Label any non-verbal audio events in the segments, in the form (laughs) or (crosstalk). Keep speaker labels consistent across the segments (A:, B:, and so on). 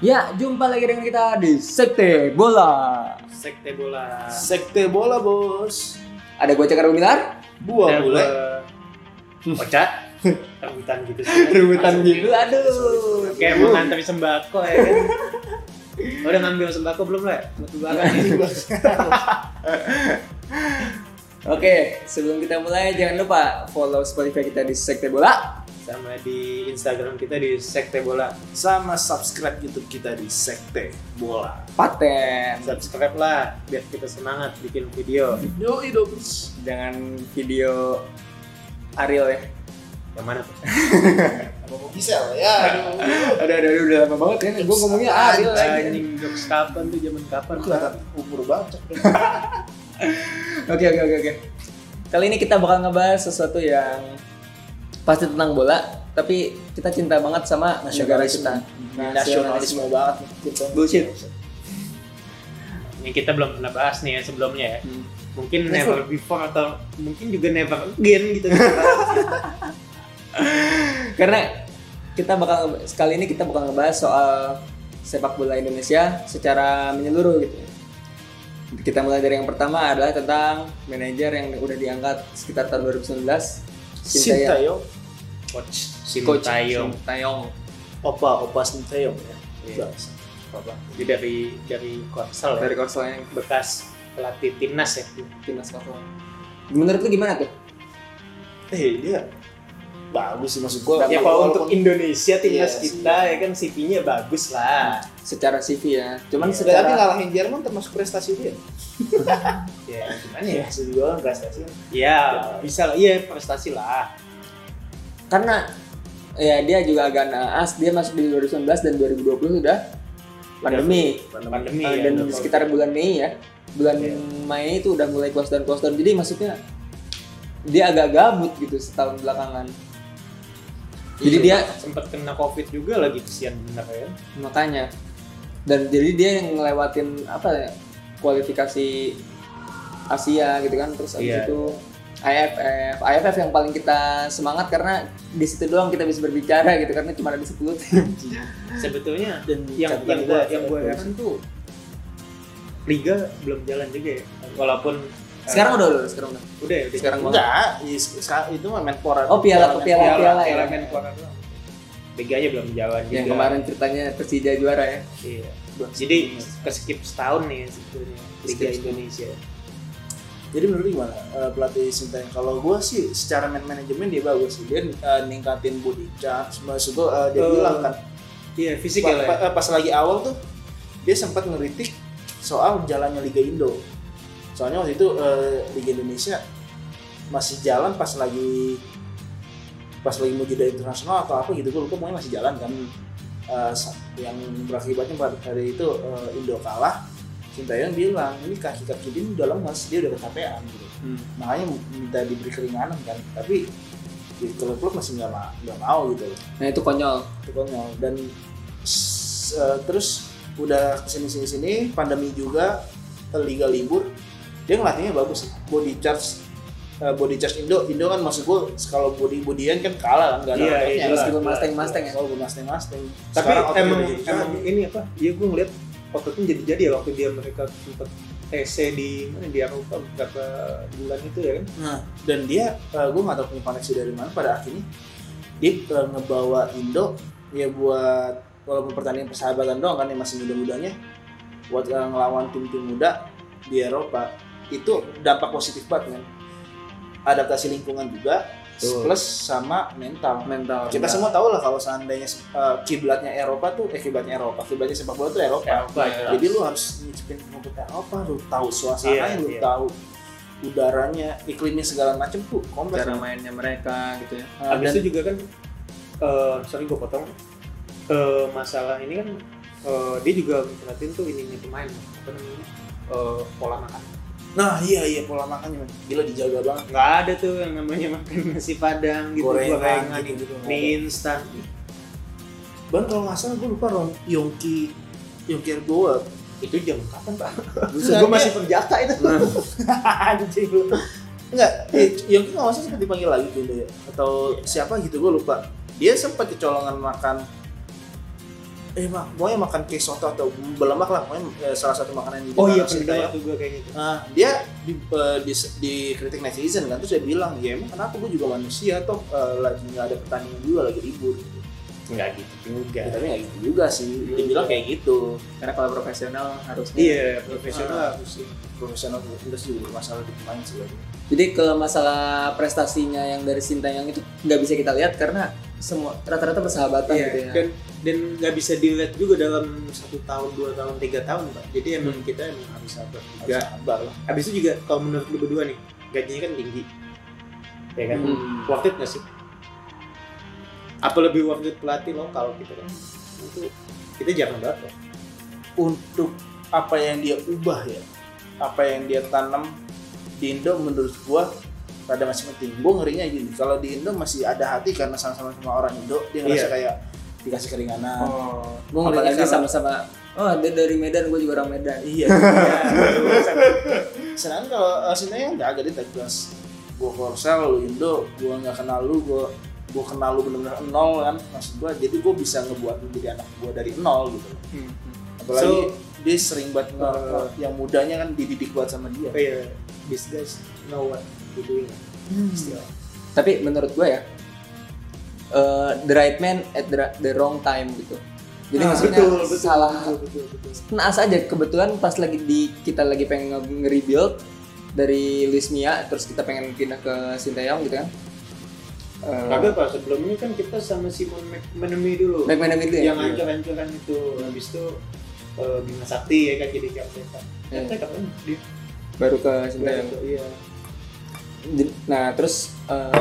A: Ya, jumpa lagi dengan kita di Sekte Bola.
B: Sekte bola.
C: Sekte bola bos.
A: Ada gue Cakar Bumilar.
C: Buah bule. (laughs)
B: Oca. Rambutan gitu sih.
A: Rebutan
B: Masuk
A: gitu,
B: gitu.
A: aduh.
B: Kayak mau ngantri sembako ya kan. Lo udah ngambil sembako belum lah? Batu bara.
A: Oke, sebelum kita mulai jangan lupa follow Spotify kita di Sekte Bola.
B: Sama di Instagram kita di Sekte Bola.
C: Sama subscribe YouTube kita di Sekte Bola.
A: Paten.
B: Subscribe lah biar kita semangat bikin video.
C: Yo ido bos.
A: Jangan video Ariel ya.
B: Yang mana? Pak?
C: Apa mau Gisel ya?
A: Aduh, aduh, aduh, udah lama banget ya. Gue ngomongnya Ariel lagi.
B: Anjing jokes kapan tuh zaman kapan?
C: Aku kelihatan Iya. umur banget.
A: Oke, oke, oke, oke. Kali ini kita bakal ngebahas sesuatu yang pasti tentang bola, tapi kita cinta banget sama negara kita.
C: Nasionalisme banget. Kita.
A: Bullshit.
B: Ini kita belum pernah bahas nih ya sebelumnya ya.
A: Hmm.
B: Mungkin never
C: Never.
B: before atau mungkin juga never again
C: (laughs)
B: gitu.
A: Karena kita bakal sekali ini kita bakal ngebahas soal sepak bola Indonesia secara menyeluruh gitu. Kita mulai dari yang pertama adalah tentang manajer yang udah diangkat sekitar tahun 2019 Sintayong.
C: Sintayong.
B: Coach
A: Coach
B: Sintayong.
A: Sintayong.
C: Opa, opa Sintayong ya.
B: Iya.
C: Bahasa.
B: Bapak. Jadi dari dari Korsel ya.
A: dari Korselnya
B: bekas pelatih timnas ya.
A: timnas Korsel. Menurut lu gimana tuh?
C: Eh dia bagus sih maksud gua.
B: ya
C: Iya, Walaupun-
B: kalau untuk Indonesia timnas
C: Iya sih.
B: kita ya kan CV-nya bagus lah.
A: Secara CV ya. Cuman
C: Tapi
A: secara
C: ngalahin Jerman termasuk prestasi dia.
B: Ya gimana
C: Iya,
B: ya?
C: maksud gua kan prestasi.
B: Ya
C: Ya.
B: bisa lah, iya prestasi lah.
A: karena ya dia juga agak naas dia masuk di 2019 dan 2020 sudah pandemi
B: Pandemi
A: Uh,
B: ya.
A: dan
B: udah
A: sekitar bulan Mei ya bulan
C: Iya.
A: Mei itu udah mulai close down close down jadi maksudnya dia agak gabut gitu setahun belakangan jadi
B: Iya.
A: dia
B: sempat kena covid juga lagi kesian bener ya.
A: makanya dan jadi dia yang ngelewatin apa ya kualifikasi Asia gitu kan terus abis
B: Iya.
A: itu AFF AFF yang paling kita semangat karena di situ doang kita bisa berbicara gitu karena cuma ada 10 tim
B: Sebetulnya
A: dan
B: yang yang gua yang gua
A: Kan
B: heran tuh liga belum jalan juga ya. Walaupun eh,
A: sekarang udah udah sekarang udah
B: udah ya udah
A: sekarang banget
C: Enggak, iya, sekarang itu mah Menpora.
A: Oh, piala- piala-
B: piala piala,
A: ya.
B: piala Menpora doang. Liganya belum jalan juga.
A: yang kemarin ceritanya Persija juara ya
B: Iya. Jadi keskip setahun nih sebetulnya Liga
A: Keskip setahun.
B: Indonesia.
C: Jadi menurut lu gimana eh, pelatih Sintayong? Kalau gua sih secara man manajemen dia bagus sih. Dia eh, ningkatin body charge. Maksud gua eh, dia
B: Eh,
C: bilang kan
B: Iya, fisik
C: pa-
B: ya.
C: pa- eh, pas lagi awal tuh dia sempat ngeritik soal jalannya Liga Indo. Soalnya waktu itu eh, Liga Indonesia masih jalan pas lagi pas lagi mau jeda internasional atau apa gitu gua lupa pokoknya masih jalan kan. Eh, sa- yang berakibatnya pada hari itu eh, Indo kalah. Sintayong bilang ini kaki-kaki dia udah lemas, dia udah kecapean gitu
B: Hmm.
C: makanya minta diberi keringanan kan tapi di klub-klub masih nggak ma- nggak mau gitu loh.
A: nah itu konyol
C: itu konyol ya. dan s- eh, terus udah kesini sini sini pandemi juga liga libur dia ngelatihnya bagus sih body charge eh, body charge Indo Indo kan maksud gue kalau body bodyan kan kalah kan nggak ada Oh,
B: Iya,
C: orangnya.
B: iya,
A: meskipun mustang-mustang ya
C: kalau gue mustang mustang
B: Tapi emang
C: jadi
B: emang ini apa? Iya, gue ngeliat ototnya jadi-jadi ya waktu dia mereka sempet TC di mana di Eropa beberapa bulan itu ya kan.
C: Nah, dan dia gue nggak tahu punya koneksi dari mana pada akhirnya dia eh, ngebawa Indo ya buat walaupun pertandingan persahabatan doang kan yang masih muda-mudanya buat eh, ngelawan tim-tim muda di Eropa itu dampak positif banget kan adaptasi lingkungan juga
A: Tuh.
C: plus sama mental
A: mental
C: kita semua tahu lah kalau seandainya eh, kiblatnya Eropa tuh eh kiblatnya Eropa kiblatnya sepak bola tuh Eropa
B: Eropa ya.
C: jadi lu harus nyicipin rumput Eropa, lu tahu
B: Iya,
C: suasananya, lu
B: iya.
C: tahu udaranya, iklimnya segala macam tuh kompleks.
A: cara mainnya mereka gitu ya
C: Nah,
B: Habis
C: dan
B: itu juga kan eh sorry gue potong. Eh masalah ini kan eh dia juga ngeliatin tuh ininya pemain apa namanya? Eh, pola makan.
C: nah iya iya pola makannya men. gila dijaga banget.
B: Nggak ada tuh yang namanya makan nasi padang gitu,
C: Gorengan,
B: gorengan,
C: gitu, gitu.
B: mie instan.
C: Ban kalau nggak salah gue lupa Rom Yongki Yongki Ergoa
B: itu jam kapan (laughs) pak?
C: Buset,
B: Gue masih perjaka itu.
C: Anjing lu. Enggak, eh, Yongki nggak usah sempat dipanggil lagi gitu ya atau
B: Iya.
C: siapa gitu gue lupa. Dia sempat kecolongan makan eh mak, pokoknya makan cake soto atau berlemak lah, pokoknya eh, salah satu makanan di
B: oh iya
C: Jakarta
B: pernah
C: ya.
B: waktu gue kayak gitu.
C: Nah, dia di, eh, di- dikritik netizen kan, terus dia bilang, ya emang kenapa gue juga manusia, toh eh, lagi nggak ada pertandingan juga, lagi libur. Gitu.
B: Enggak gitu juga.
C: Ya, tapi nggak gitu juga sih, dia bilang kayak gitu.
A: karena kalau profesional harusnya
B: Iya profesional
C: Ah.
B: harus sih.
C: Profesional terus juga masalah di pemain sih. ya. lagi.
A: Jadi kalau masalah prestasinya yang dari Sintayong itu nggak bisa kita lihat karena semua rata-rata persahabatan
B: Iya,
A: gitu ya.
B: dan dan nggak bisa dilihat juga dalam satu tahun dua tahun tiga tahun pak jadi emang kita emang harus sabar
A: Iya.
C: Harus
B: juga
C: sabar lah.
B: habis itu juga kalau menurut lu berdua nih gajinya kan tinggi ya kan
A: Hmm.
B: worth it nggak sih apa lebih worth it pelatih lokal gitu kan itu kita jarang banget loh.
C: Untuk apa yang dia ubah ya, apa yang dia tanam di Indo menurut gua ada masih penting. Gua ngerinya gini, kalau di Indo masih ada hati karena sama-sama sama orang Indo, dia ngerasa
B: Iya.
C: kayak dikasih keringanan.
B: oh
C: Gua ngerinya
A: Apalagi
C: karena-
A: sama-sama oh dia dari Medan, gue juga orang
B: (laughs)
A: Medan.
C: Iya. Sedangkan kalau uh, sebenarnya nggak agak dia tag kelas. Gue Korsel, lu Indo, gue nggak kenal lu, gue gue kenal lu bener-bener nol kan maksud gue jadi gue bisa ngebuat lu jadi anak gue dari nol gitu
A: Hmm.
C: apalagi
B: So-
C: dia sering banget nge-
B: Uh.
C: yang mudanya kan dididik buat sama dia
B: iya these guys know what they're doing still
A: Tapi menurut gue ya eh, the right man at the, ra- the wrong time gitu. Jadi
B: Nah,
A: maksudnya
B: betul, betul,
A: salah
B: betul, betul, betul.
A: naas aja kebetulan pas lagi di kita lagi pengen nge- nge-rebuild dari Luis Mia terus kita pengen pindah ke Sintayong gitu kan. Eh,
B: Kagak pak, sebelum ini kan kita sama Simon Mc- menemui dulu
A: back man itu ya.
B: yang ancur-ancuran itu habis itu eh, Bima Sakti ya kan jadi kapten kan
A: Iya.
B: Kapten kapan dia
A: Baru ke Sintayong.
B: iya
A: Jadi- nah terus eh,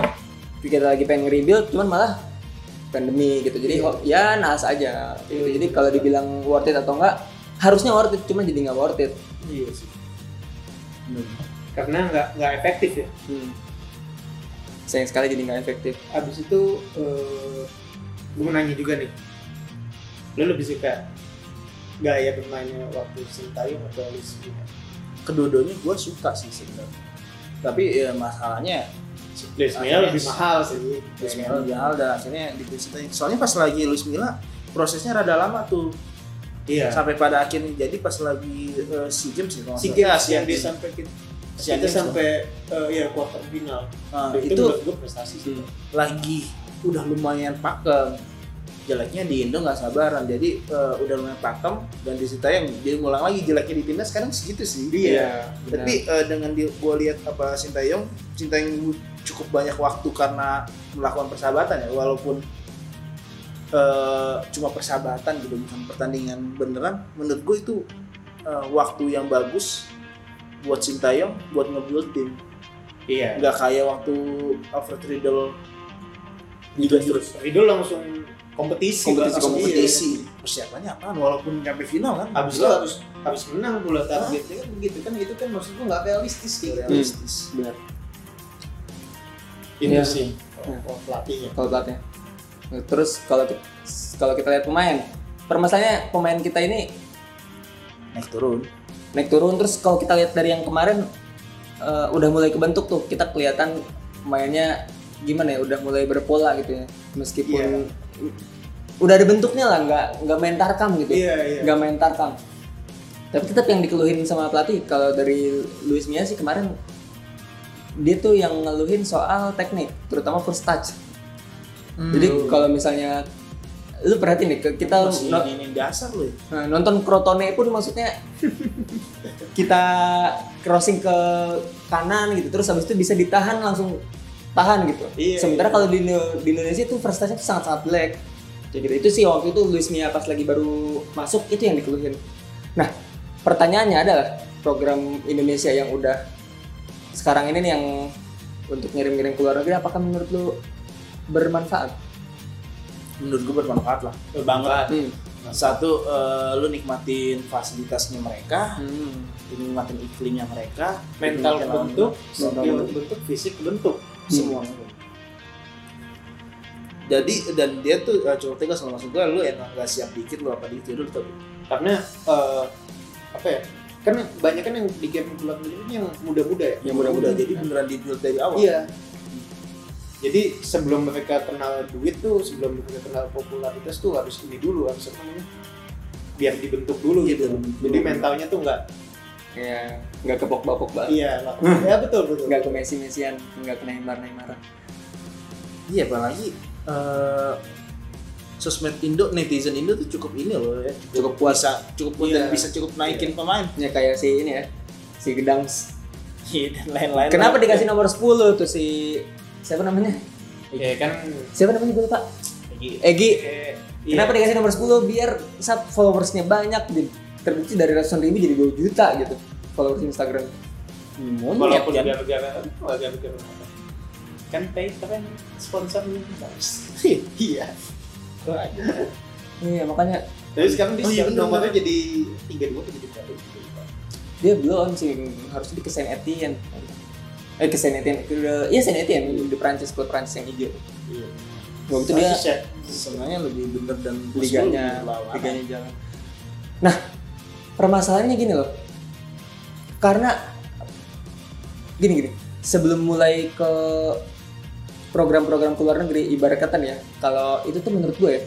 A: kita lagi pengen rebuild cuman malah pandemi gitu jadi ho- ya naas aja gitu.
B: Iya,
A: jadi
B: iya.
A: kalau dibilang worth it atau enggak harusnya worth it cuman jadi nggak worth it
B: iya sih
C: Hmm.
B: karena nggak nggak efektif ya
A: hmm. sayang sekali jadi nggak efektif
B: habis itu eh gue mau nanya juga nih lo lebih suka gaya bermainnya waktu Sintayong atau Luis Mia?
C: kedudunya gue suka sih sebenarnya tapi ya, masalahnya
B: Luis Mia
C: Akhirnya
B: lebih
C: sih.
B: mahal sih
C: Luis Milla lebih mahal dan akhirnya dipecintai soalnya pas lagi Luis Milla prosesnya rada lama tuh
B: iya
C: sampai pada akhirnya jadi pas lagi uh, si James sih
B: si games
C: si
B: yang dia sampai kita,
C: Si
B: kita
C: Games
B: sampai eh, ya quarter final
C: Nah,
B: itu,
C: itu
B: menurut gue prestasi sih
C: lagi udah lumayan pakem jeleknya di Indo nggak sabaran jadi eh, udah lumayan pakem dan di situ yang dia ngulang lagi jeleknya di timnas sekarang segitu sih
B: Iya.
C: tapi eh, dengan dia gue lihat apa Sintayong Sintayong cukup banyak waktu karena melakukan persahabatan ya walaupun eh, cuma persahabatan gitu bukan pertandingan beneran menurut gue itu eh, waktu yang bagus buat Sintayong buat nge-build tim
B: iya
C: nggak kayak waktu Alfred Riddle juga terus
B: Ridho langsung kompetisi
C: kompetisi
B: Bang.
C: kompetisi persiapannya apaan walaupun sampai final kan
B: Iya. abis itu abis abis menang pula targetnya kan begitu kan itu kan maksud gua nggak realistis gitu
C: realistis
A: benar
B: itu
A: Iya.
B: sih
A: Iya.
B: oh, pelatihnya
A: kalau pelatnya Nah, terus kalau ki- kalau kita lihat pemain permasalahannya pemain kita ini
C: naik turun
A: naik turun terus kalau kita lihat dari yang kemarin eh, udah mulai kebentuk tuh kita kelihatan mainnya gimana ya udah mulai berpola gitu ya meskipun udah ada bentuknya lah nggak nggak main tarkam gitu
B: iya iya
A: nggak main tarkam tapi tetap yang dikeluhin sama pelatih kalau dari Luis Mia sih kemarin dia tuh yang ngeluhin soal teknik terutama first touch jadi kalau misalnya lu perhatiin nih ke- kita
C: masih
A: no-
C: ini, ini dasar loh ya.
A: Nah, nonton Crotone pun maksudnya kita crossing ke kanan gitu terus habis itu bisa ditahan langsung tahan gitu.
B: Iya,
A: Sementara
B: iya.
A: kalau di, Indo- di Indonesia itu first touch-nya tuh sangat-sangat black. Jadi gitu. itu sih waktu itu Luis Mia pas lagi baru masuk itu yang dikeluhin. Nah, pertanyaannya adalah program Indonesia yang udah sekarang ini nih yang untuk ngirim-ngirim ke luar negeri apakah menurut lu bermanfaat?
C: menurut gue bermanfaat lah
B: bangga
A: Hmm.
C: satu eh, lu nikmatin fasilitasnya mereka
A: Hmm.
C: lu nikmatin iklimnya mereka
B: mental
C: nikmatin lawan
B: bentuk
C: lawan
B: skill
C: lawan.
B: bentuk fisik bentuk
C: semua jadi dan dia tuh eh, cukup tegas loh maksud gue lu emang gak siap dikit lu apa dikit lu tetap
B: karena eh, apa ya? Kan banyak kan yang di game bulan ini yang muda-muda ya.
A: Yang mudah-mudahan.
C: mudah-mudahan jadi beneran dibuild dari awal
B: Iya. Jadi sebelum mereka kenal duit tuh, sebelum mereka kenal popularitas tuh harus ini dulu harus apa namanya? Biar dibentuk dulu
C: Iya,
B: gitu.
C: dibentuk
B: Jadi
C: dulu.
B: mentalnya tuh nggak
A: Iya, nggak ke Pogba-Pogba.
B: iya lah. ya betul betul.
A: Nggak ke Messi-Messian, nggak ke Neymar-Neymaran.
C: iya apalagi eh, sosmed Indo netizen Indo tuh cukup ini loh ya
A: Cukup puas.
C: bisa cukup puas
B: Iya.
C: dan bisa cukup naikin pemain (laughs)
A: Ya kayak si ini ya, si Gedangs.
C: Iya, dan lain-lain Iya.
A: Kenapa dikasih nomor 10 tuh si siapa namanya?
B: Ya kan
A: Siapa namanya gue lupa. Egi.
B: eh, iya.
A: Kenapa dikasih nomor 10 biar saat followersnya banyak di- terbukti dari ratusan ribu jadi 2 juta gitu followers Instagram.
C: monyet
B: walaupun
C: kan
B: gara-gara gara-gara kan pay kan sponsornya
C: iya
A: Iya makanya
B: tapi sekarang dia
C: Oh, iya,
B: sekarang
C: bener,
B: nomornya
C: bener.
B: jadi tiga dua tiga berapa gitu.
A: dia belum sih harusnya di Saint Etienne. Eh ke Saint Etienne itu udah iya Saint Etienne di Prancis klub Prancis yang hijau.
C: Iya.
A: Waktu itu dia
C: Sebenarnya- sebenarnya lebih bener dan
A: liganya
C: lawan.
A: liganya jalan. Nah, permasalahannya gini loh. Karena gini gini, sebelum mulai ke program-program ke luar negeri ibarat kata nih ya, kalau itu tuh menurut gue ya,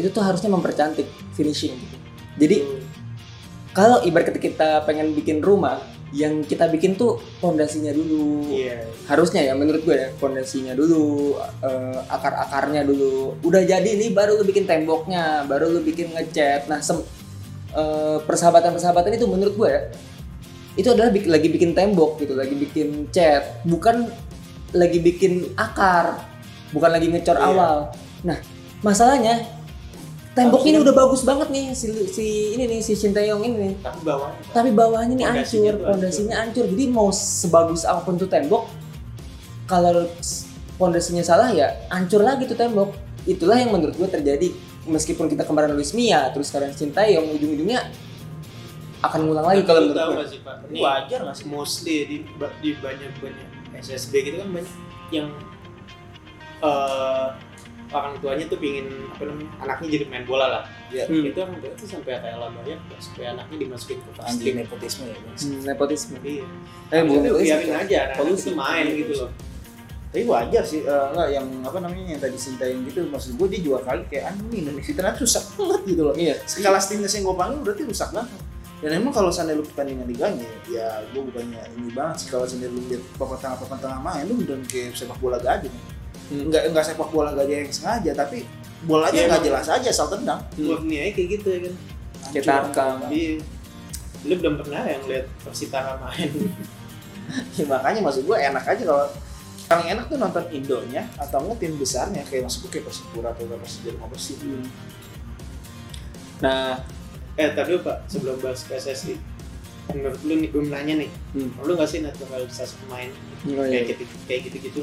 A: itu tuh harusnya mempercantik finishing gitu. Jadi kalau ibarat kata kita pengen bikin rumah, yang kita bikin tuh pondasinya dulu
B: iya
A: harusnya ya menurut gue ya fondasinya dulu eh, akar-akarnya dulu udah jadi nih baru lu bikin temboknya baru lu bikin ngecat nah sem- eh, persahabatan-persahabatan itu menurut gue ya itu adalah bik- lagi bikin tembok gitu lagi bikin cat bukan lagi bikin akar bukan lagi ngecor
B: Iya.
A: awal nah masalahnya tembok ini
B: Harusnya-
A: udah bagus banget nih si, si ini nih si Sinteyong ini nih
B: tapi bawahnya
A: tapi bawahnya nih
B: Pondasinya
A: hancur,
B: tuh
A: pondasinya hancur. Jadi mau sebagus apapun tuh tembok, kalau pondasinya salah ya hancur lagi tuh tembok. Itulah yang menurut gue terjadi meskipun kita kemarin Luis Mia terus sekarang cinta yang ujung-ujungnya akan ngulang lagi kalau
B: Lu
A: menurut
B: tahu
A: gue.
B: nggak sih pak
C: Ini wajar nggak sih?
B: mostly di ba- di banyak banyak SSB gitu kan banyak yang eh, orang tuanya tuh pingin apa namanya anaknya jadi main bola lah
C: Iya.
A: Hmm.
B: itu orang tua tuh sampai rela banyak supaya anaknya dimasukin ke
C: Anjing
B: plastik
C: nepotisme ya guys.
A: Hmm, nepotisme.
B: iya
A: Eh, bukan
B: Itu
A: nepotisme.
B: biarin aja anak-anak
C: Polusi.
B: itu main gitu loh
C: tapi wajar sih eh, nggak yang apa namanya yang tadi sintain gitu maksud gue dia juga kali kayak anjing Indonesia ternyata rusak banget gitu loh
A: Iya.
C: skala timnas yang gue panggil berarti rusak banget dan emang kalau seandainya lu pertandingan liganya ya gue bukannya ini banget sih kalau seandainya lu lihat papan tengah papan tengah main lu beneran kayak sepak bola gajah
A: Hmm.
C: nggak nggak sepak bola gajah yang sengaja tapi bolanya
B: Iya,
C: nggak
B: emang.
C: jelas aja asal tendang
A: Hmm.
B: murni aja kayak gitu ya kan
A: Kita rekam.
B: Iya. Lu belum pernah yang lihat Persitara main.
C: Ya, makanya maksud gue enak aja kalau paling enak tuh nonton Indonya atau enggak tim besarnya kayak maksud gue kayak Persipura atau enggak Persija atau Persib
A: Nah,
B: (laughs) eh tadi Pak, sebelum bahas PSSI. Menurut lu nih gue mau nanya nih,
A: hmm.
B: perlu nggak sih naturalisasi pemain
A: Oh, iya.
B: kayak gitu kayak gitu gitu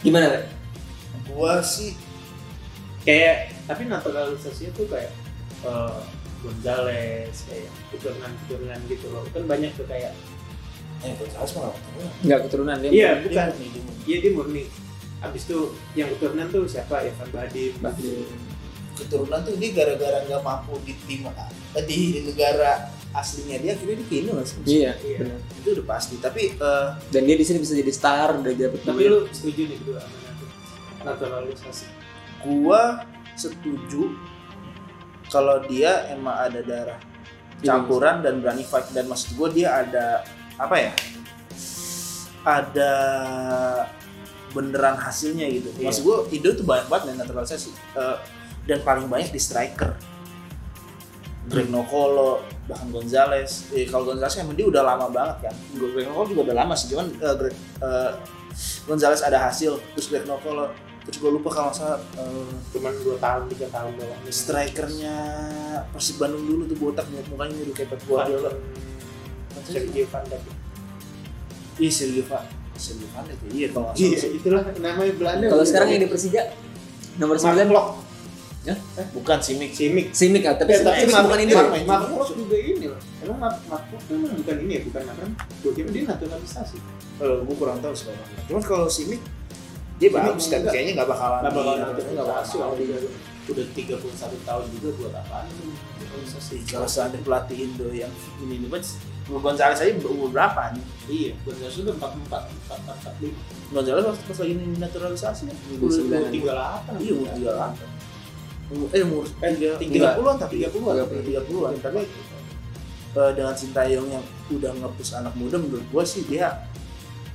A: gimana? Le?
C: gue sih
B: kayak tapi naturalisasinya tuh kayak eh Gonzales kayak keturunan keturunan gitu loh kan banyak tuh kayak
C: eh gue jelas malah
A: Nggak keturunan dia.
B: iya bukan
C: nih dia-
B: iya dia murni abis itu yang keturunan tuh siapa Evan Badim
A: Badim.
C: keturunan tuh dia gara-gara nggak mampu di tim eh, di negara aslinya dia akhirnya dia ke Indo nggak sih?
A: Iya.
B: Iya.
A: benar.
C: itu udah pasti tapi eh,
A: Dan dia di sini bisa jadi star, udah dapet
B: tapi lu setuju nih berdua sama natu- naturalisasi
C: gua setuju kalau dia emang ada darah campuran dan berani fight dan maksud gua dia ada apa ya ada beneran hasilnya gitu
B: Iya.
C: maksud gua Indo tuh banyak banget main naturalisasi Eh, dan paling banyak di striker Greg Nokolo bahkan Gonzales eh, kalau Gonzales kan emang dia udah lama banget kan Greg Nokolo juga udah lama sih cuman eh, Greg, eh, Gonzales ada hasil terus Greg Nokolo terus gue lupa kalau nggak salah eh,
B: cuman dua tahun tiga tahun doang
C: strikernya Persib Bandung dulu tuh botak banget mukanya udah kayak Pep Guardiola
B: Sergio Van Dijk
C: iya Sergio Van Sergio Van Dijk ya? iya kalau nggak
B: iya
C: salah sih.
B: itulah namanya Belanda
A: Kalau sekarang yang di Persija nomor 9
B: Mark Eh?
C: bukan sih Mik
B: Cimik
A: Simic ah,
C: Iya,
A: tapi
B: Eh, tapi
A: Simic
B: Mark-
A: bukan ini.
B: Mark-
A: Le.
C: Indo.
B: Mark Klok juga ini loh emang Mark Mark Klok tuh emang bukan ini ya bukan apa gue kira dia naturalisasi
C: gue Eh, kurang tahu sekarang cuman kalau si Mik dia
B: Simic
C: bagus kan
B: enggak.
C: kayaknya nggak bakalan
B: Nggak bakalan
C: di-
B: Iya, naturalisasi
C: nggak bakalan
B: kalau
C: di-
B: dia-
C: udah 31 tahun juga buat apaan lu? Kalau seandainya pelatih Indo yang ini ini banget, Bruno Gonzales aja umur berapa nih?
B: Iya, Gonzales itu 44, 44, 45.
C: Gonzales pas, pas lagi naturalisasi kan?
A: Umur
C: Umur-
A: sembilan.
C: umur tiga-
B: 38.
C: Iya umur tiga lah. Eh umur
B: Eh,
C: tiga
B: tiga
C: puluhan tapi tiga puluhan,
A: Tiga puluh.
C: tiga puluhan. Karena eh, dengan Sintayong yang udah ngepus anak muda menurut gua sih dia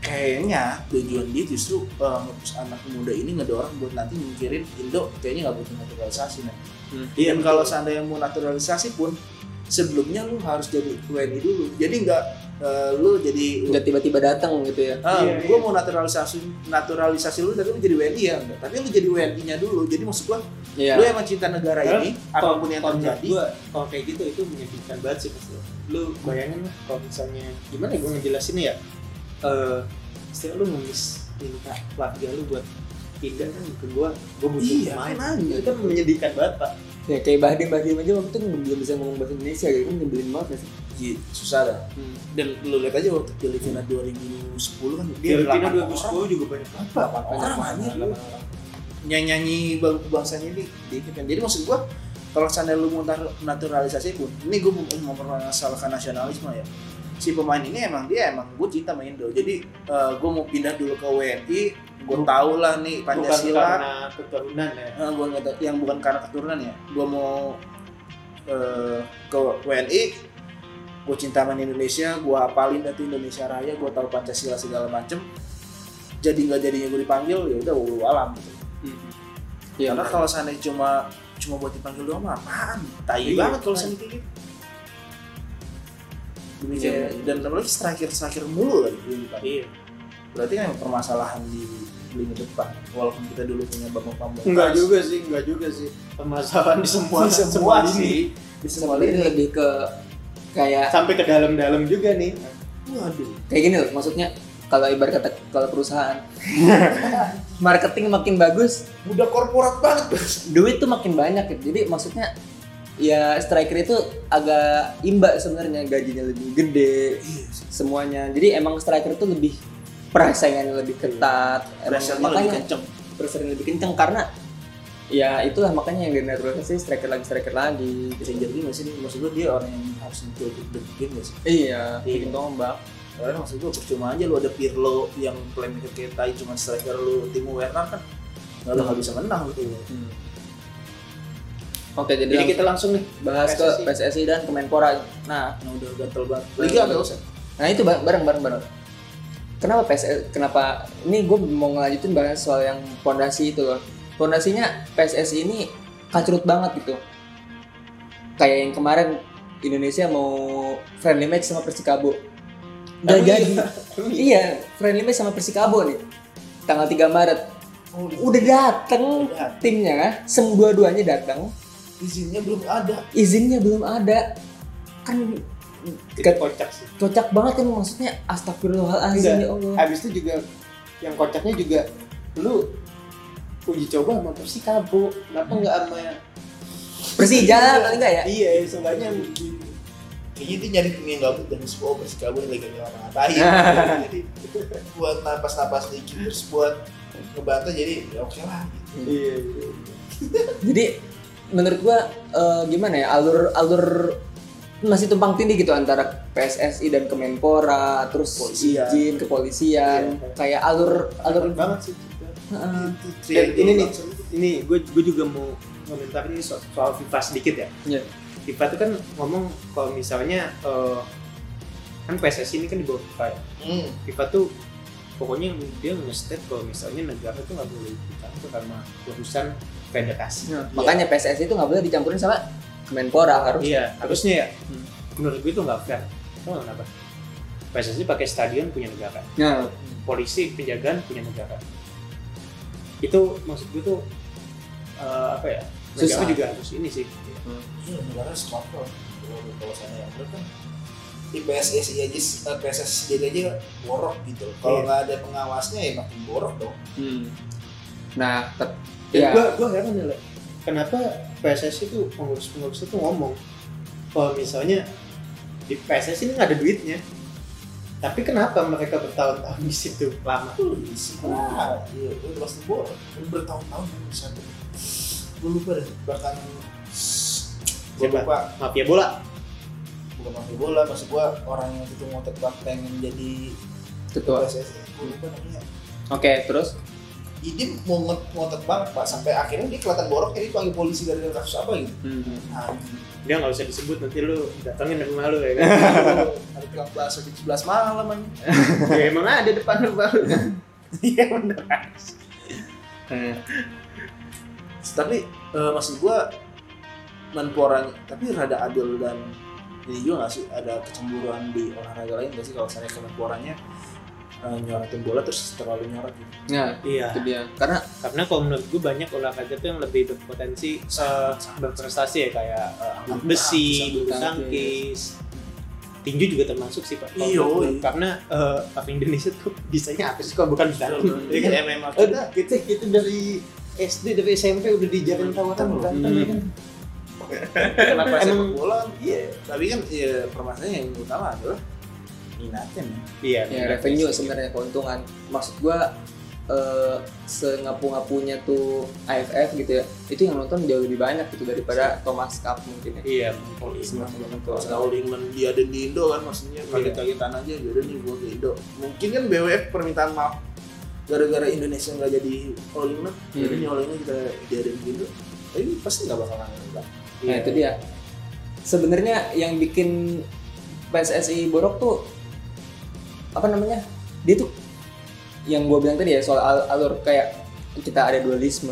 C: kayaknya tujuan dia justru eh, ngepus anak muda ini ngedorong buat nanti mikirin Indo kayaknya nggak butuh naturalisasi nih.
A: Hmm.
B: Iya,
C: Dan
B: betul.
C: kalau seandainya mau naturalisasi pun sebelumnya lu harus jadi WNI dulu. Jadi nggak eh, lu jadi
A: Udah tiba-tiba datang gitu ya.
C: Ah,
B: Iya,
C: gue
B: iya.
C: mau naturalisasi naturalisasi lu tapi lu jadi WNI ya enggak. Tapi lu jadi WNI-nya dulu. Jadi maksud gua
A: Iya.
C: lu emang cinta negara
B: Karena
C: ini apapun yang terjadi.
B: gua, kalau kayak gitu itu menyedihkan banget sih pasti lu bayangin lah kalau misalnya gimana ya gue ngejelasin ya Eh, istilah lu ngemis minta warga lu buat pindah kan ke gua gua butuh
C: Iya,
B: pemain
C: kan
B: itu kan menyedihkan banget pak
A: Ya kayak Bahdim Bahdim aja waktu itu belum bisa ngomong bahasa Indonesia gitu kan nyebelin banget ya sih.
C: Iya, susah dah.
B: hmm.
C: Dan lu lihat aja waktu Filipina 2010 kan
B: dia pindah
C: delapan orang.
B: 2010 juga banyak banget
C: Delapan orang anjir lu. nyanyi-nyanyi bang- bangsanya ini dikit kan. Jadi maksud gua kalau seandainya lu mau tar- naturalisasi pun, ini gue mau mempermasalahkan nasionalisme ya. Si pemain ini emang dia emang gue cinta sama Indo. Jadi gue mau pindah dulu ke WNI, gue
B: Bukan-
C: tau lah nih
B: bukan
C: Pancasila.
B: karena keturunan ya
C: Eh, gua nggak tahu- yang bukan karena keturunan ya. Gue mau eh, ke WNI, gue cinta sama Indonesia, gue hafalin dari Indonesia Raya, gue tahu Pancasila segala macem. Jadi nggak jadinya gue dipanggil, ya udah ulu alam gitu.
B: Hmm.
A: Iya.
C: Karena kalau seandainya cuma cuma buat dipanggil doang mah apaan? Tai
B: Iya,
C: banget kalau
B: kan.
C: seandainya kayak gitu.
A: Demikian.
C: Iya, dan apalagi striker striker mulu lagi di depan.
B: iya
C: Berarti kan emang permasalahan di lini depan. Walaupun kita dulu punya Bambang Pamungkas.
B: enggak juga sih enggak juga sih permasalahan di semua
C: Di semua
B: lini.
C: sih. Di semua
A: Sebenarnya ini
C: lini.
A: lebih ke kayak
B: sampai ke dalam-dalam juga nih
C: Waduh.
A: kayak gini loh maksudnya kalau ibarat kata kalau
C: (laughs)
A: perusahaan marketing makin bagus
C: Udah korporat banget. Bos.
A: duit tuh makin banyak gitu. jadi maksudnya ya striker itu agak imba sebenarnya gajinya lebih gede
C: Iya,
A: semuanya jadi emang striker itu lebih perasaannya lebih ketat Emang
C: Pressure-nya lebih
A: makanya
C: kenceng.
A: pressure-nya lebih kenceng karena ya itulah makanya yang dinaturalisasi striker lagi striker lagi gitu.
C: Stranger ini masih nih, maksud gue dia orang yang harus untuk the game gak sih?
A: iya
C: Iya.
A: bikin tombak
C: Karena maksud gue percuma aja lu ada Pirlo yang playmaker kayak tai cuma striker lu Timo Werner kan nggak bakal bisa menang gitu.
A: Hmm. oke jadi,
B: jadi
A: lang-
B: kita langsung nih
A: bahas
B: PSSI.
A: ke PSSI dan Kemenpora nah
C: Nah, udah gatel banget. Liga nggak usah.
A: Nah itu bareng bareng bareng. bareng. Kenapa PS kenapa ini gue mau ngelanjutin bahas soal yang pondasi itu loh. Pondasinya PSSI ini kacrut banget gitu. Kayak yang kemarin Indonesia mau friendly match sama Persikabo. Gak
B: Emang
A: jadi.
B: iya?
A: Iya. friendly match sama Persikabo nih. Tanggal 3 Maret. Udah dateng
C: Udah.
A: timnya, sem dua-duanya datang.
C: Izinnya belum ada.
A: Izinnya belum ada. Kan
B: Itu kocak sih
A: kocak banget kan maksudnya astagfirullahalazim
B: Enggak.
A: ya Allah.
B: Iya. habis itu juga yang kocaknya juga lu uji coba sama Persikabo kenapa nggak sama
A: Persija lah paling enggak Hmm. ya.
B: iya seenggaknya
C: Kayaknya dia nyari tim yang gabut dan sebuah Persikabo yang lagi orang ngatain. Nah, iya. jadi buat napas-napas dikit terus buat ngebantah jadi ya oke lah.
B: iya iya
A: Jadi menurut gua eh, gimana ya alur alur masih tumpang tindih gitu antara PSSI dan Kemenpora, terus
C: Polisian.
A: izin kepolisian,
B: Iya.
A: kayak alur alur
B: alur banget sih juga.
A: Heeh.
B: dan ini nih ini gue gue juga mau komentar ini so- soal FIFA sedikit ya
A: Iya.
B: FIFA itu kan ngomong kalau misalnya eh, kan PSSI ini kan di bawah FIFA ya.
C: Hmm.
B: FIFA tuh pokoknya dia nge-state kalau misalnya negara tuh nggak boleh ikut campur karena urusan federasi.
A: Nah, Makanya PSSI itu nggak boleh dicampurin sama Kemenpora harus.
B: Iya, harusnya ya.
A: Hmm.
B: Menurut gue itu nggak fair. Tahu nggak kenapa? PSSI pakai stadion punya negara,
A: Nah,
B: polisi penjagaan punya negara. Itu maksud gue tuh eh, apa ya? Negara
A: Susah.
B: juga harus ini sih.
C: Iya, negara harus kontrol. Kalau kalau sana yang bener kan di PSSI aja eh, PSSI sendiri aja borok gitu.
B: Iya.
C: Kalau nggak ada pengawasnya ya makin borok dong.
A: Hmm. nah tet-
B: Dan
A: ya.
B: gue gue heran ya, Le. kenapa PSSI tuh pengurus-pengurus itu ngomong kalau misalnya di PSSI ini nggak ada duitnya, tapi kenapa mereka bertahun-tahun di situ lama?
C: Tuh, isi. Nah, iya, itu pasti borok. Bertahun-tahun kan bisa. gue lupa deh bahkan gue
B: Siapa?
C: lupa
B: mafia bola
C: bukan masuk bola maksud gue orang yang itu mau tetap pengen jadi
A: ketua. Oke,
C: PSSI gue lupa namanya
A: terus
C: ini mau ngot- ngotot banget pak sampai akhirnya dia kelihatan borok jadi panggil polisi gara-gara kasus apa gitu
A: hmm.
C: anjing
B: dia nggak usah disebut nanti lu datangin sama lu ya kan
C: hari pulang puasa jam 11 malam anjing
B: ya emang ada depan lu baru
C: iya bener
A: Eh,
C: tapi eh, maksud gua menpora tapi rada adil dan ini juga nggak sih ada kecemburuan di olahraga lain nggak sih kalau misalnya ke menporanya eh, nyorotin bola terus terlalu nyorot gitu
A: nah
B: iya
A: itu dia. Karena
B: karena kalau menurut gue banyak olahraga tuh yang lebih berpotensi eh, berprestasi ya kayak eh, angkat
C: Bulu
B: besi,
C: tangkis,
B: bulu
A: bulu tangkis.
B: tangkis, tinju juga termasuk sih pak. Kalau
C: Iya,
B: menurut gue.
C: iya.
B: Karena eh, orang Indonesia tuh bisanya apa sih kalau bukan bidang?
C: jadi kan MMA kita
B: Eh, Udah kita kita dari SD dari SMP udah diajarin tawaran
C: Hmm.
B: berantem
A: Iya.
B: ya kan.
C: kenapa sepak
B: Emang-
C: bola iya tapi kan iya, permasalahannya yang utama adalah minatnya men.
B: Iya.
A: ya revenue sebenarnya keuntungan. Maksud gua eh sengapu-ngapunya tuh AFF gitu ya. Itu yang nonton jauh lebih banyak gitu daripada Thomas Cup mungkin ya.
B: Iya.
C: All England,
A: Sebenarnya
C: Pas
A: keuntungan.
C: All England dia ada di Indo kan maksudnya
B: Iya.
C: kaget-kagetan aja jadi nih gua ke Indo. Mungkin kan BWF permintaan maaf gara-gara Indonesia nggak jadi All England, jadi
A: Hmm.
C: nih All England kita dia ada di Indo. Tapi pasti nggak bakal nggak.
B: Iya.
A: Nah itu dia. Sebenarnya yang bikin PSSI borok tuh apa namanya? Dia tuh yang gue bilang tadi ya soal al- alur kayak kita ada dualisme.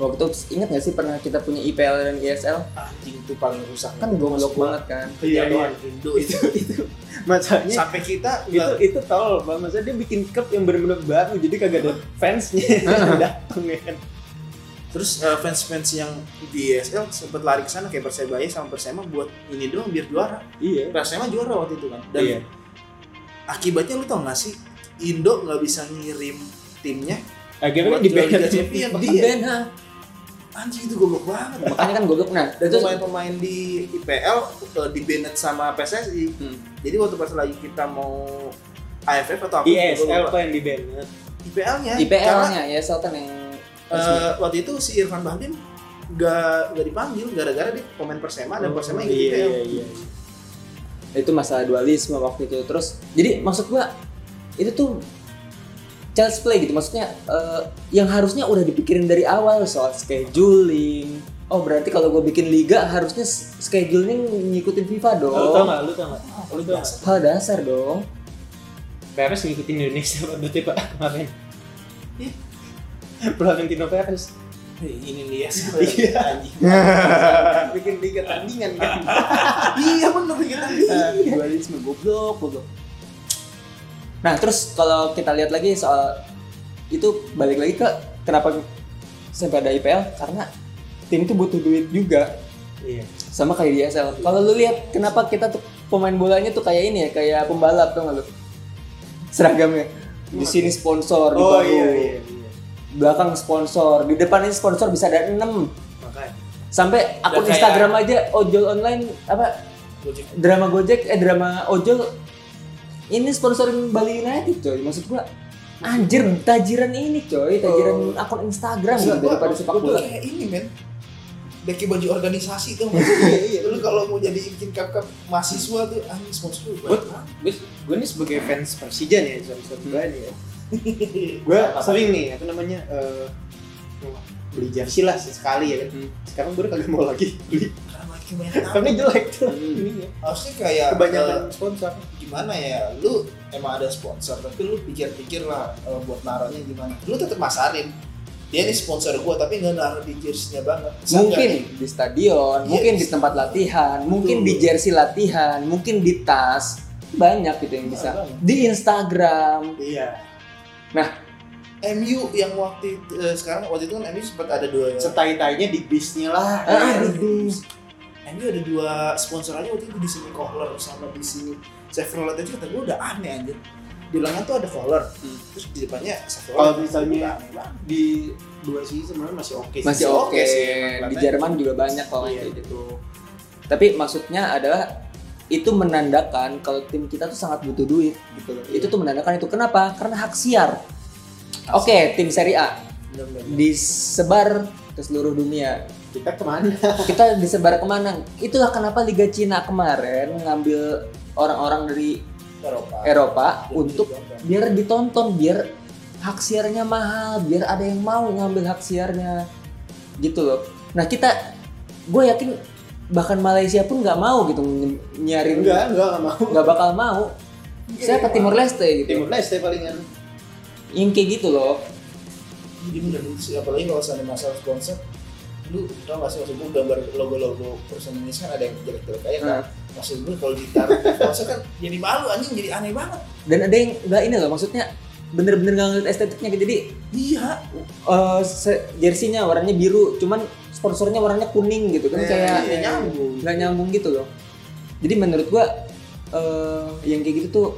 A: Waktu itu ingat nggak sih pernah kita punya IPL dan ISL?
C: Anjing itu paling rusak.
A: Kan goblok banget kan.
B: Iya, iya.
C: Iya, Indo itu.
B: itu itu masalahnya
C: Sampai kita
B: itu
C: nggak
B: Nah, itu tol bang maksudnya dia bikin cup yang benar-benar baru jadi kagak ada (laughs) fansnya datang ya kan
C: terus eh, fans-fans yang di ESL sempat lari ke sana kayak Persebaya sama Persema buat ini doang biar juara.
B: iya
C: Persema juara waktu itu kan. Dan
B: iya
C: akibatnya lu tau gak sih Indo nggak bisa ngirim timnya
B: akhirnya
C: buat
B: di
C: juara Liga iya.
B: band
C: Champion
A: Bahkan
C: dia
A: Kan Ben, ha.
C: anjing itu goblok banget
A: Makanya kan goblok nah. Dan
C: dan
A: terus
C: pemain-pemain di IPL eh, di banned sama PSSI
A: Hmm.
C: jadi waktu pas lagi kita mau AFF atau apa
B: ISL apa yang di band
C: IPL-nya karena
A: IPL-nya ISL kan yang resmi.
C: eh, waktu itu si Irfan Bahdim gak, gak dipanggil gara-gara dia pemain Persema dan Persema ikut
B: iya
C: IPL
B: iya iya
A: itu masalah dualisme waktu itu terus jadi maksud gua itu tuh child's play gitu maksudnya eh, yang harusnya udah dipikirin dari awal soal scheduling oh berarti kalau gue bikin liga harusnya s- scheduling ngikutin FIFA dong
B: lu tau nggak lu tau nggak lu tau nggak
A: hal dasar dong
B: Peres ngikutin Indonesia (laughs) pak berarti pak kemarin Florentino Perez
C: Eh, ini dia sih
B: Iya.
C: anjing
B: bikin tiga tandingan kan
C: iya bener kita
A: dualisme goblok goblok nah terus kalau kita lihat lagi soal itu balik lagi ke kenapa sampai ada IPL karena tim itu butuh duit juga
B: iya
A: sama kayak di ESL. Kalau lu lihat kenapa kita tuh pemain bolanya tuh kayak ini ya, kayak pembalap tuh lu. Seragamnya. Di sini sponsor di bahu.
B: oh iya iya iya
A: Belakang sponsor, di depan ini sponsor bisa ada 6.
B: makanya
A: Sampai akun
C: kayak-
A: Instagram aja ojol online apa drama Gojek eh drama ojol ini sponsorin Bali United coy. Maksud gua anjir tajiran ini coy, tajiran
B: Oh.
A: akun Instagram gitu daripada sepak bola.
C: kayak ini men Daki baju organisasi tuh iya, lu kalau mau jadi bikin cup cup mahasiswa tuh "Ah, anjing sponsor lu
B: What? gue gue nih sebagai fans Persija nih sama sama gue nih (laughs) ya gue sering nih apa namanya eh, beli jersey lah sekali ya kan
A: Hmm.
B: sekarang gue udah kagak mau lagi beli
C: makin banyak tamu.
B: karena jelek tuh (laughs)
A: Hmm.
B: ininya.
C: harusnya kayak
B: Eh, kebanyakan sponsor
C: eh, gimana ya lu emang ada sponsor tapi lu pikir-pikir lah eh, buat naruhnya gimana lu tetap masarin dia ini sponsor gua tapi nggak naruh di jersey-nya banget
A: mungkin di stadion,
C: Iya,
A: mungkin
C: di
A: di tempat
C: stadion.
A: latihan, mungkin di
C: Betul.
A: jersey latihan, mungkin di tas, banyak gitu yang bisa.
C: Banyak.
A: Di Instagram.
C: gitu.
B: iya
C: MU yang waktu itu, eh, sekarang waktu itu kan MU sempat ada dua
B: setai-tainya di bisnya lah Iya.
A: Aduh.
C: MU ada dua sponsor aja waktu itu di sini Kohler sama di sini Chevrolet aja kata gue udah aneh anjir di belakang tuh ada Kohler
A: Hmm.
C: terus di depannya Chevrolet
B: Kalau misalnya-
C: Udah aneh banget.
B: di dua sih sebenarnya masih oke sih.
A: Masih oke.
C: sih, emang
A: Di
C: kelihatannya.
A: Jerman juga banyak kalau
B: Iya.
A: kayak gitu. Tapi maksudnya adalah itu menandakan kalau tim kita tuh sangat butuh duit gitu loh. Itu tuh menandakan itu kenapa? Karena hak siar. Oke, tim Serie A
C: Bener-bener.
A: disebar ke seluruh
C: (laughs)
A: dunia.
B: kita kemana
A: Kita disebar kemana? Itulah kenapa Liga Cina kemarin ngambil orang-orang dari
C: Eropa.
A: Eropa
C: Jadi
A: Eh, untuk
C: ditonton.
A: biar ditonton biar hak siarnya mahal biar ada yang mau ngambil hak siarnya gitu loh nah kita gue yakin bahkan Malaysia pun nggak mau gitu ny- nyiarin
B: enggak enggak enggak mau
A: nggak bakal mau saya ke Timor Leste gitu
B: Iya, Timur Leste kan. palingan
A: yang kayak gitu loh
C: Jadi udah dulu sih, apalagi kalau misalnya masalah sponsor, lu tau gak sih maksud gue gambar logo-logo perusahaan Indonesia kan ada yang jelek-jelek aja kan?
A: Nah,
C: Maksud gue kalau ditaruh di sponsor kan jadi malu anjing, jadi aneh banget.
A: dan ada yang nggak ini loh maksudnya bener-bener nggak ngeliat estetiknya gitu. jadi
C: Iya,
A: eh, se- jersinya warnanya biru cuman sponsornya warnanya kuning gitu kan
B: Eh,
A: kayak
B: iya, nyambung
A: nggak nyambung gitu loh jadi menurut gua eh, yang kayak gitu tuh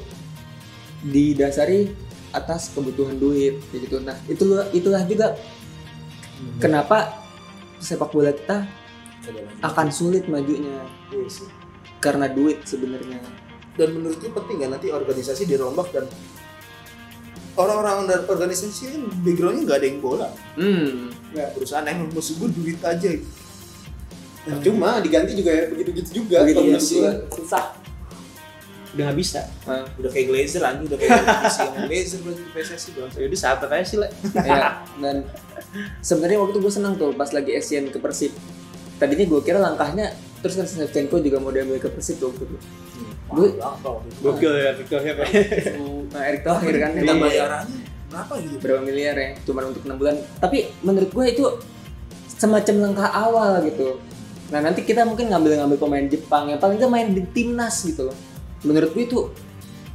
A: didasari atas kebutuhan duit kayak gitu nah itu itulah juga kenapa sepak bola kita akan sulit majunya
C: Hmm, Iya sih.
A: karena duit sebenarnya
C: dan menurut gue penting nggak nanti organisasi dirombak dan orang-orang dari organisasi kan backgroundnya nggak ada yang bola
A: hmm
B: Ya.
C: nggak perusahaan yang maksud gue duit aja gitu.
B: Nah, cuma diganti juga ya begitu-gitu juga
A: begitu
B: kalau
A: ya
B: menurut gua.
A: susah
B: udah nggak bisa
C: udah kayak Glazer anjing udah kayak divisi yang Glazer berarti PSSI bang
B: ya udah sabar aja sih lah
A: ya dan sebenarnya waktu itu gue senang tuh pas lagi Asian ke Persib tadinya gue kira langkahnya terus kan Shevchenko juga mau diambil ke Persib tuh waktu itu Gua-
C: Mahal banget waktu itu.
B: gokil ya Victor Herbert
A: nah Erick Thohir kan
C: kita
A: yang
B: Iya.
C: bayarannya berapa gitu
A: berapa miliar ya cuma untuk enam bulan tapi menurut gue itu semacam langkah awal gitu nah nanti kita mungkin ngambil-ngambil pemain Jepang yang paling nggak main di timnas gitu loh menurut gue itu
B: (laughs)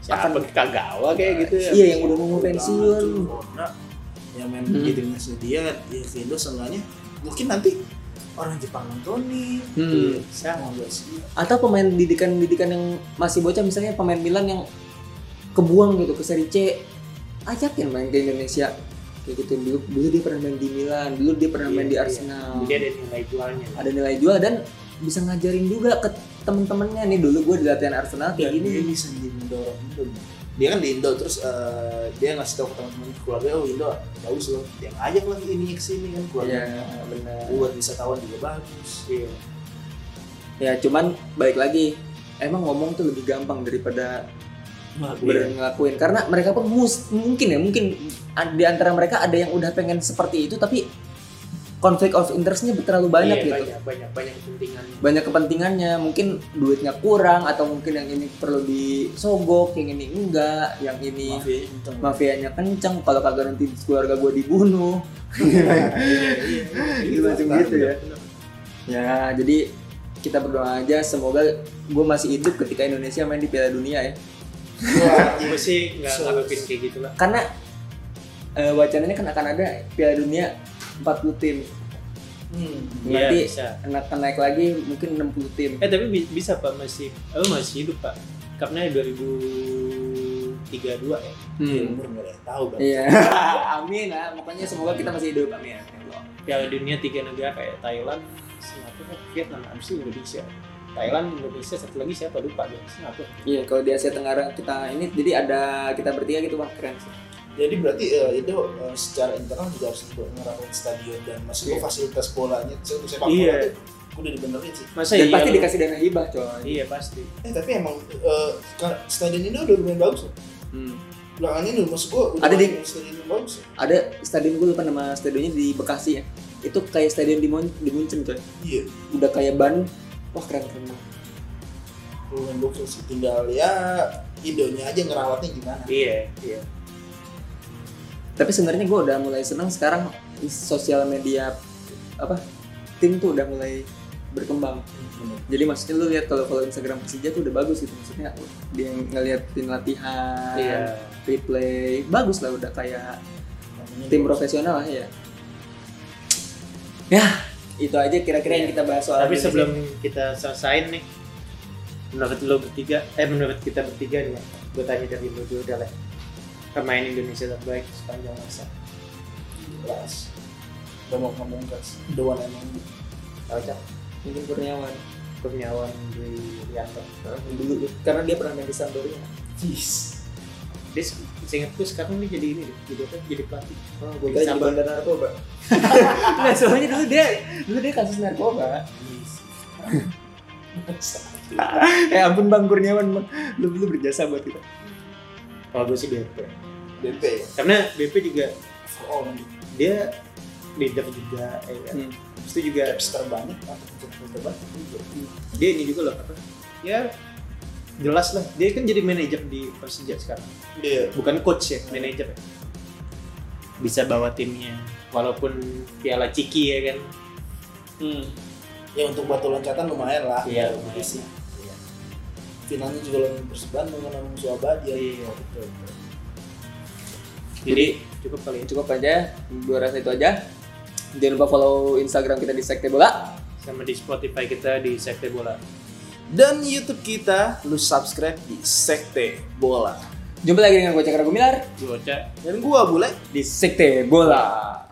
B: siapa Kagawa kayak gitu ya
A: iya yang udah mau pensiun
C: Corona, yang Ya, main
A: Hmm.
C: di timnasnya dia ya Vindo seenggaknya mungkin nanti orang Jepang nontonin
A: Hmm.
C: saya mau bahas
A: atau pemain didikan-didikan yang masih bocah misalnya pemain Milan yang kebuang gitu ke Serie C ajakin main ke Indonesia kayak gitu dulu dulu dia pernah main di Milan dulu dia pernah main
B: Iya,
A: di
B: iya.
A: Arsenal
B: jadi ada nilai jualnya
A: ada nilai jual dan bisa ngajarin juga ke temen-temennya nih dulu gue di latihan Arsenal
C: dan
B: Iya,
A: kayak gini
C: dia bisa jadi mendorong Indo dia kan di Indo terus eh, dia ngasih tahu ke teman-teman keluarga oh Indo bagus loh dia ngajak lagi ini ke sini kan keluarga
A: benar
C: buat wisatawan juga bagus
B: iya
A: ya cuman balik lagi emang ngomong tuh lebih gampang daripada
B: Iya.
A: ber- ngelakuin karena mereka pun mus- mungkin ya mungkin a- di antara mereka ada yang udah pengen seperti itu tapi konflik of interestnya terlalu banyak
B: Iya,
A: gitu
B: banyak banyak banyak kepentingan
A: banyak kepentingannya mungkin duitnya kurang atau mungkin yang ini perlu disogok yang ini enggak yang ini
B: Iya,
C: mafianya kenceng
A: mafianya kenceng kalau kagak nanti keluarga gue
B: (laughs)
A: dibunuh
C: Iya,
A: Gitu, macam
C: kan?
A: gitu ya. ya jadi kita berdoa aja semoga gue masih hidup ketika Indonesia main di Piala Dunia ya
C: Wah, iya.
B: gue sih nggak
C: So-
B: ngelakuin kayak gitu lah
A: karena eh, wacananya kan akan ada Piala Dunia 40 tim
C: Hmm.
B: Iya
A: Nanti-
B: bisa
A: akan naik lagi mungkin 60 tim
B: eh tapi bi- bisa pak masih oh, masih hidup pak karena 2032 ya
C: Iya, umur nggak ada yang tahu kan
A: iya (laughs) amin lah pokoknya semoga kita masih hidup amin ya
B: Piala Dunia tiga negara kayak Thailand, Singapura, Vietnam, habis itu Indonesia. Thailand, Indonesia, satu lagi siapa lupa gue. Singapura.
A: iya kalau di Asia Tenggara kita ini jadi ada kita bertiga gitu wah keren sih
C: Jadi berarti eh, itu eh, secara internal juga harus ngerapin stadion dan maksud gue
B: Iya.
C: fasilitas bolanya se- sepak bola
B: Iya.
C: tuh udah dibenerin sih.
B: Masa
A: dan
B: iya
A: pasti
B: lu-
A: dikasih dana hibah coy
B: Iya pasti.
C: Eh tapi emang eh, kan stadion ini udah lumayan bagus loh.
A: Hmm.
C: Belakangan ini maksud gue udah
A: Ada di-
C: main stadion yang bagus. ya.
A: ada stadion gue lupa nama stadionnya di Bekasi ya itu kayak stadion di, Mon- di Munchen coy
C: Iya.
A: udah kayak ban wah keren keren banget.
C: Lumayan bagus sih. Tinggal ya Indonya aja ngerawatnya gimana.
B: Iya, iya.
A: tapi sebenarnya gue udah mulai senang sekarang di sosial media apa tim tuh udah mulai berkembang jadi maksudnya lu lihat kalau kalau Instagram Persija tuh udah bagus gitu maksudnya dia ngeliatin latihan
B: Iya.
A: replay bagus lah udah kayak
C: Namanya
A: tim
C: bagus.
A: profesional lah ya ya itu aja kira-kira yang kita bahas soal
B: Iya. Tapi
A: Indonesia.
B: sebelum kita selesain nih, menurut lo bertiga, eh menurut kita bertiga nih, gue tanya dari lo dulu deh. Pemain Indonesia terbaik sepanjang masa.
C: jelas. Udah mau ngomong kas. The one and only.
B: Kocak,
A: mungkin Kurniawan
B: Kurniawan Dwi Rianto.
A: dulu karena dia pernah main di Sampdoria
C: Jeez.
B: dia se- seingatku sekarang dia jadi ini deh jadi apa jadi pelatih
A: Oh,
B: gue
A: kira
B: bisa
A: jadi
B: bang.
A: bandar (laughs) narkoba. Nah, soalnya dulu dia dulu dia kasus narkoba. eh ampun Bang Kurniawan, Bang. Lu lu berjasa buat kita.
B: kalau gue sih BP
C: BP ya?
B: karena BP juga
C: Oh,
B: dia leader juga ya kan?
A: Hmm.
B: Terus itu juga
C: capster banyak, apa? Capster banyak juga.
B: dia ini juga loh apa ya jelas lah dia kan jadi manajer di Persija sekarang
C: Iya.
B: bukan coach ya manajer ya. bisa bawa timnya walaupun piala ciki ya kan
A: Hmm.
C: Ya untuk batu loncatan lumayan lah.
B: Iya,
C: Untuk
B: lumayan.
C: isi. Finalnya juga lawan Persib Bandung kan lawan Suabadia.
B: Iya, betul. jadi cukup kali ya
A: Cukup aja, gue rasa itu aja. Jangan lupa follow Instagram kita di Sekte Bola.
B: sama di Spotify kita di Sekte Bola
C: Dan YouTube kita lu subscribe di Sekte Bola.
A: Jumpa lagi dengan gue Cakra Gumilar
B: Gua Oca
C: Dan gua bule
A: di Sekte Bola.